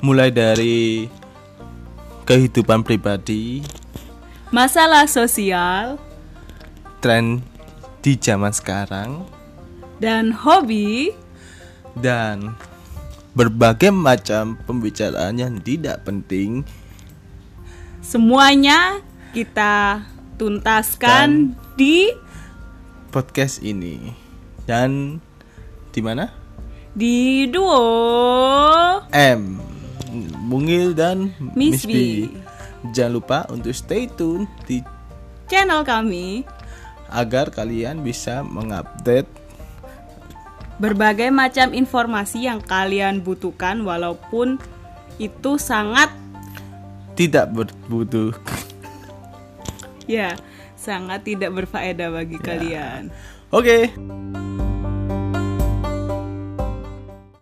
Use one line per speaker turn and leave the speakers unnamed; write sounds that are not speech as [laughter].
mulai dari kehidupan pribadi,
masalah sosial,
tren di zaman sekarang,
dan hobi.
dan berbagai macam pembicaraan yang tidak penting
Semuanya kita tuntaskan di
podcast ini. Dan di mana?
di duo.
M Mungil dan Miss
Miss B.
B. Jangan lupa untuk stay tune di
channel kami
agar kalian bisa mengupdate
berbagai macam informasi yang kalian butuhkan walaupun itu sangat
tidak berbutuh [laughs]
ya sangat tidak berfaedah bagi kalian.
Oke.